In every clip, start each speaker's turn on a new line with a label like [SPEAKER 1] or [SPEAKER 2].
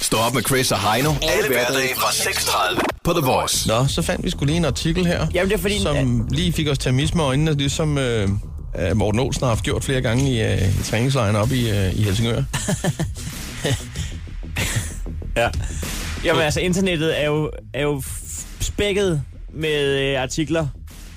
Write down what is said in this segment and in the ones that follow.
[SPEAKER 1] Stå op med Chris og Heino. Alle hverdage fra 6.30 på The Voice.
[SPEAKER 2] Nå, så fandt vi skulle lige en artikel her,
[SPEAKER 3] Jamen, det er fordi-
[SPEAKER 2] som lige fik os til at misme øjnene, ligesom øh, øh, Morten Olsen har haft gjort flere gange i, øh, i træningslejren oppe i, øh, i Helsingør.
[SPEAKER 3] Ja. Jamen altså, internettet er jo, er jo f- spækket med øh, artikler.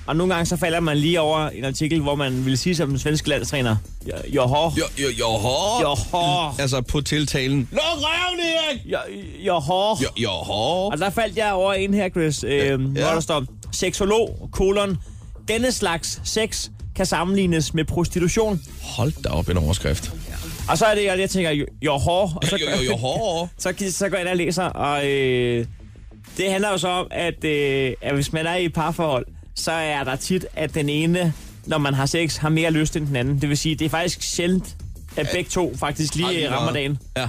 [SPEAKER 3] Og nogle gange så falder man lige over en artikel, hvor man vil sige som den svenske landstræner. "Jo- Johå.
[SPEAKER 2] Jo, jo, jo, hår.
[SPEAKER 3] Johå.
[SPEAKER 2] Altså på tiltalen. Luk røven, Erik!
[SPEAKER 3] Jo- Johå.
[SPEAKER 2] Jo, jo, hår.
[SPEAKER 3] Og der faldt jeg over en her, Chris, øh, ja. hvor der står, seksolog, kolon, denne slags sex kan sammenlignes med prostitution.
[SPEAKER 2] Hold da op en overskrift.
[SPEAKER 3] Og så er det, jeg, jeg tænker, jo, jo hår, og så,
[SPEAKER 2] Jo, jo, jo, hår.
[SPEAKER 3] så, gi- så går jeg ind og læser, og øh, det handler jo så om, at, øh, at hvis man er i et parforhold, så er der tit, at den ene, når man har sex, har mere lyst end den anden. Det vil sige, det er faktisk sjældent, at begge to faktisk lige øh, rammer dagen.
[SPEAKER 2] Ja.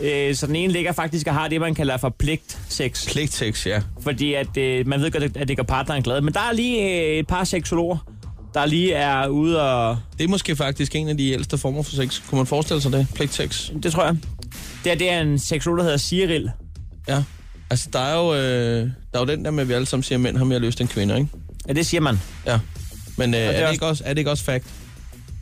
[SPEAKER 3] Øh, så den ene ligger faktisk og har det, man kalder for pligt-sex.
[SPEAKER 2] Pligtsex, ja.
[SPEAKER 3] fordi at, øh, man ved godt, at det gør partneren glad. Men der er lige øh, et par seksologer, der lige er ude og...
[SPEAKER 2] Det er måske faktisk en af de ældste former for sex. Kunne man forestille sig det? Pligtsex.
[SPEAKER 3] Det tror jeg. Det, her, det er en seksolog, der hedder Cyril.
[SPEAKER 2] Ja. Altså, der er jo, øh, der er jo den der med, at vi alle sammen siger, at mænd har mere lyst end kvinder, ikke?
[SPEAKER 3] Ja, det siger man.
[SPEAKER 2] Ja. Men øh, er, det
[SPEAKER 3] også-
[SPEAKER 2] ikke også, er det ikke også fact?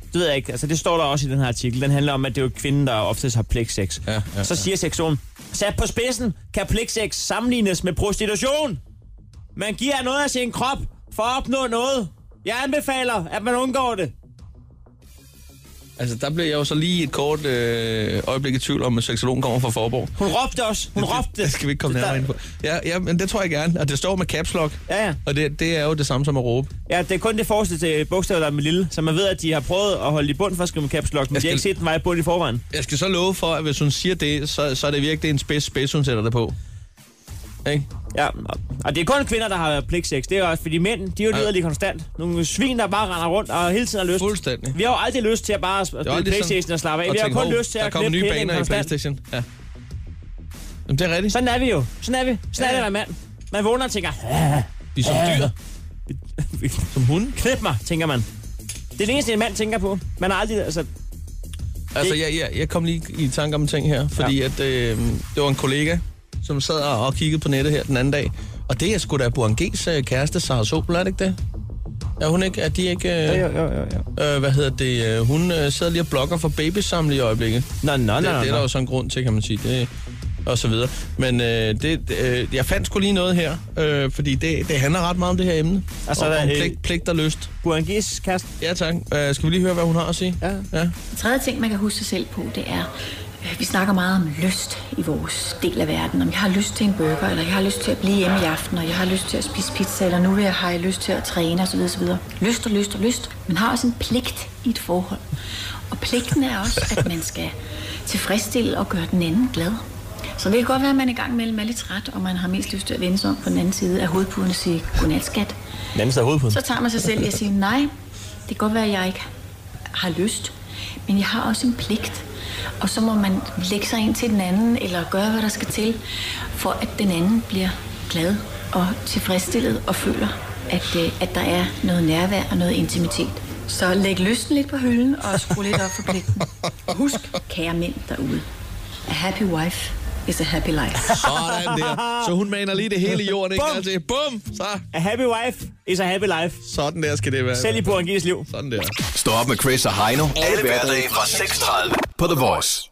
[SPEAKER 3] Det ved jeg ikke. Altså, det står der også i den her artikel. Den handler om, at det er jo kvinden, der oftest har pligtsex.
[SPEAKER 2] Ja, ja,
[SPEAKER 3] Så siger seksologen, sat på spidsen kan pligtsex sammenlignes med prostitution. Man giver noget af sin krop for at opnå noget. Jeg anbefaler, at man undgår det.
[SPEAKER 2] Altså, der blev jeg jo så lige et kort øh, øjeblik i tvivl om, at seksologen kommer fra Forborg.
[SPEAKER 3] Hun råbte også. Hun råbte.
[SPEAKER 2] Det skal vi ikke komme
[SPEAKER 3] Der-
[SPEAKER 2] nærmere ind på. Ja, ja, men det tror jeg gerne. Og det står med caps lock.
[SPEAKER 3] Ja, ja.
[SPEAKER 2] Og det, det er jo det samme som at råbe.
[SPEAKER 3] Ja, det er kun det forreste til bogstav, der er med lille. Så man ved, at de har prøvet at holde i bund for at skrive med caps lock, men
[SPEAKER 2] Jeg
[SPEAKER 3] de har ikke
[SPEAKER 2] skal-
[SPEAKER 3] set den vej på i forvejen.
[SPEAKER 2] Jeg skal så love for, at hvis hun siger det, så, så er det virkelig en spids, spids, hun sætter det på. Ikke?
[SPEAKER 3] Ja, og det er kun kvinder, der har pligtsex. Det er også, fordi mænd, de er jo liderlige konstant. Nogle svin, der bare render rundt og hele tiden har lyst.
[SPEAKER 2] Fuldstændig.
[SPEAKER 3] Vi har jo aldrig lyst til at bare sp- spille
[SPEAKER 2] aldrig sådan-
[SPEAKER 3] Playstation og slappe af.
[SPEAKER 2] Og
[SPEAKER 3] Vi har
[SPEAKER 2] tænke,
[SPEAKER 3] kun
[SPEAKER 2] hov,
[SPEAKER 3] lyst til
[SPEAKER 2] der
[SPEAKER 3] at
[SPEAKER 2] kommer
[SPEAKER 3] klippe
[SPEAKER 2] nye
[SPEAKER 3] pinden
[SPEAKER 2] baner i
[SPEAKER 3] konstant.
[SPEAKER 2] Playstation. Ja. Jamen, det er rigtigt.
[SPEAKER 3] Sådan er vi jo. Sådan er vi. Sådan
[SPEAKER 2] Ja,
[SPEAKER 3] ja. er
[SPEAKER 2] ja.
[SPEAKER 3] det, man mand. Man vågner og tænker,
[SPEAKER 2] Vi er som dyr. Som hunde.
[SPEAKER 3] knip mig, tænker man. Det er det eneste, en mand tænker på. Man har aldrig, altså...
[SPEAKER 2] Altså, jeg, jeg, jeg kom lige i tanke om en ting her, fordi ja. at, øh, det var en kollega, som sad og og kiggede på nettet her den anden dag. Og det er sgu da Burangés øh, kæreste, Sarah Sobel, er det ikke det? Er hun ikke? Er de ikke... Øh,
[SPEAKER 3] jo, jo, jo.
[SPEAKER 2] Øh, hvad hedder det? øh, Hun øh, sidder lige og blokker for babysamle i øjeblikket.
[SPEAKER 3] Nå, nå,
[SPEAKER 2] Det,
[SPEAKER 3] nå,
[SPEAKER 2] det er
[SPEAKER 3] nå,
[SPEAKER 2] der
[SPEAKER 3] nå.
[SPEAKER 2] jo så en grund til, kan man sige. Det, og så videre. Men øh, det, øh, jeg fandt sgu lige noget her, øh, fordi det, det handler ret meget om det her emne.
[SPEAKER 3] Altså,
[SPEAKER 2] om,
[SPEAKER 3] der er
[SPEAKER 2] om
[SPEAKER 3] helt-
[SPEAKER 2] pligt, pligt og lyst.
[SPEAKER 3] Burangis kæreste.
[SPEAKER 2] Ja tak. Øh, skal vi lige høre, hvad hun har at sige?
[SPEAKER 3] Ja.
[SPEAKER 2] ja.
[SPEAKER 4] En tredje ting, man kan huske sig selv på, det er, øh, vi snakker meget om lyst i vores del af verden. Om jeg har lyst til en burger, eller jeg har lyst til at blive hjemme i aften, og jeg har lyst til at spise pizza, eller nu vil jeg, har jeg lyst til at træne osv. osv. Lyst og lyst og lyst. Man har også en pligt i et forhold. Og pligten er også, at man skal tilfredsstille og gøre den anden glad. Så det kan godt være, at man er i gang mellem er lidt træt, og man har mest lyst til at vende sig om på den anden side af hovedpuden og sige godnat, skat.
[SPEAKER 3] Den anden side af hovedpuden.
[SPEAKER 4] Så tager man sig selv i at sige, nej, det kan godt være, at jeg ikke har lyst, men jeg har også en pligt. Og så må man lægge sig ind til den anden, eller gøre, hvad der skal til, for at den anden bliver glad og tilfredsstillet og føler, at, øh, at der er noget nærvær og noget intimitet. Så læg lysten lidt på hylden og skru lidt op for pligten. Og husk, kære mænd derude, a happy wife is a happy life.
[SPEAKER 2] Sådan der. Så hun maner lige det hele i jorden, ikke?
[SPEAKER 3] Bum!
[SPEAKER 2] Altså, bum! Så,
[SPEAKER 3] A happy wife is a happy life.
[SPEAKER 2] sådan der skal det være.
[SPEAKER 3] Selv i Burangis liv.
[SPEAKER 2] Sådan der.
[SPEAKER 1] Stå op med Chris og Heino. Alle hverdage fra 6.30 på The Voice.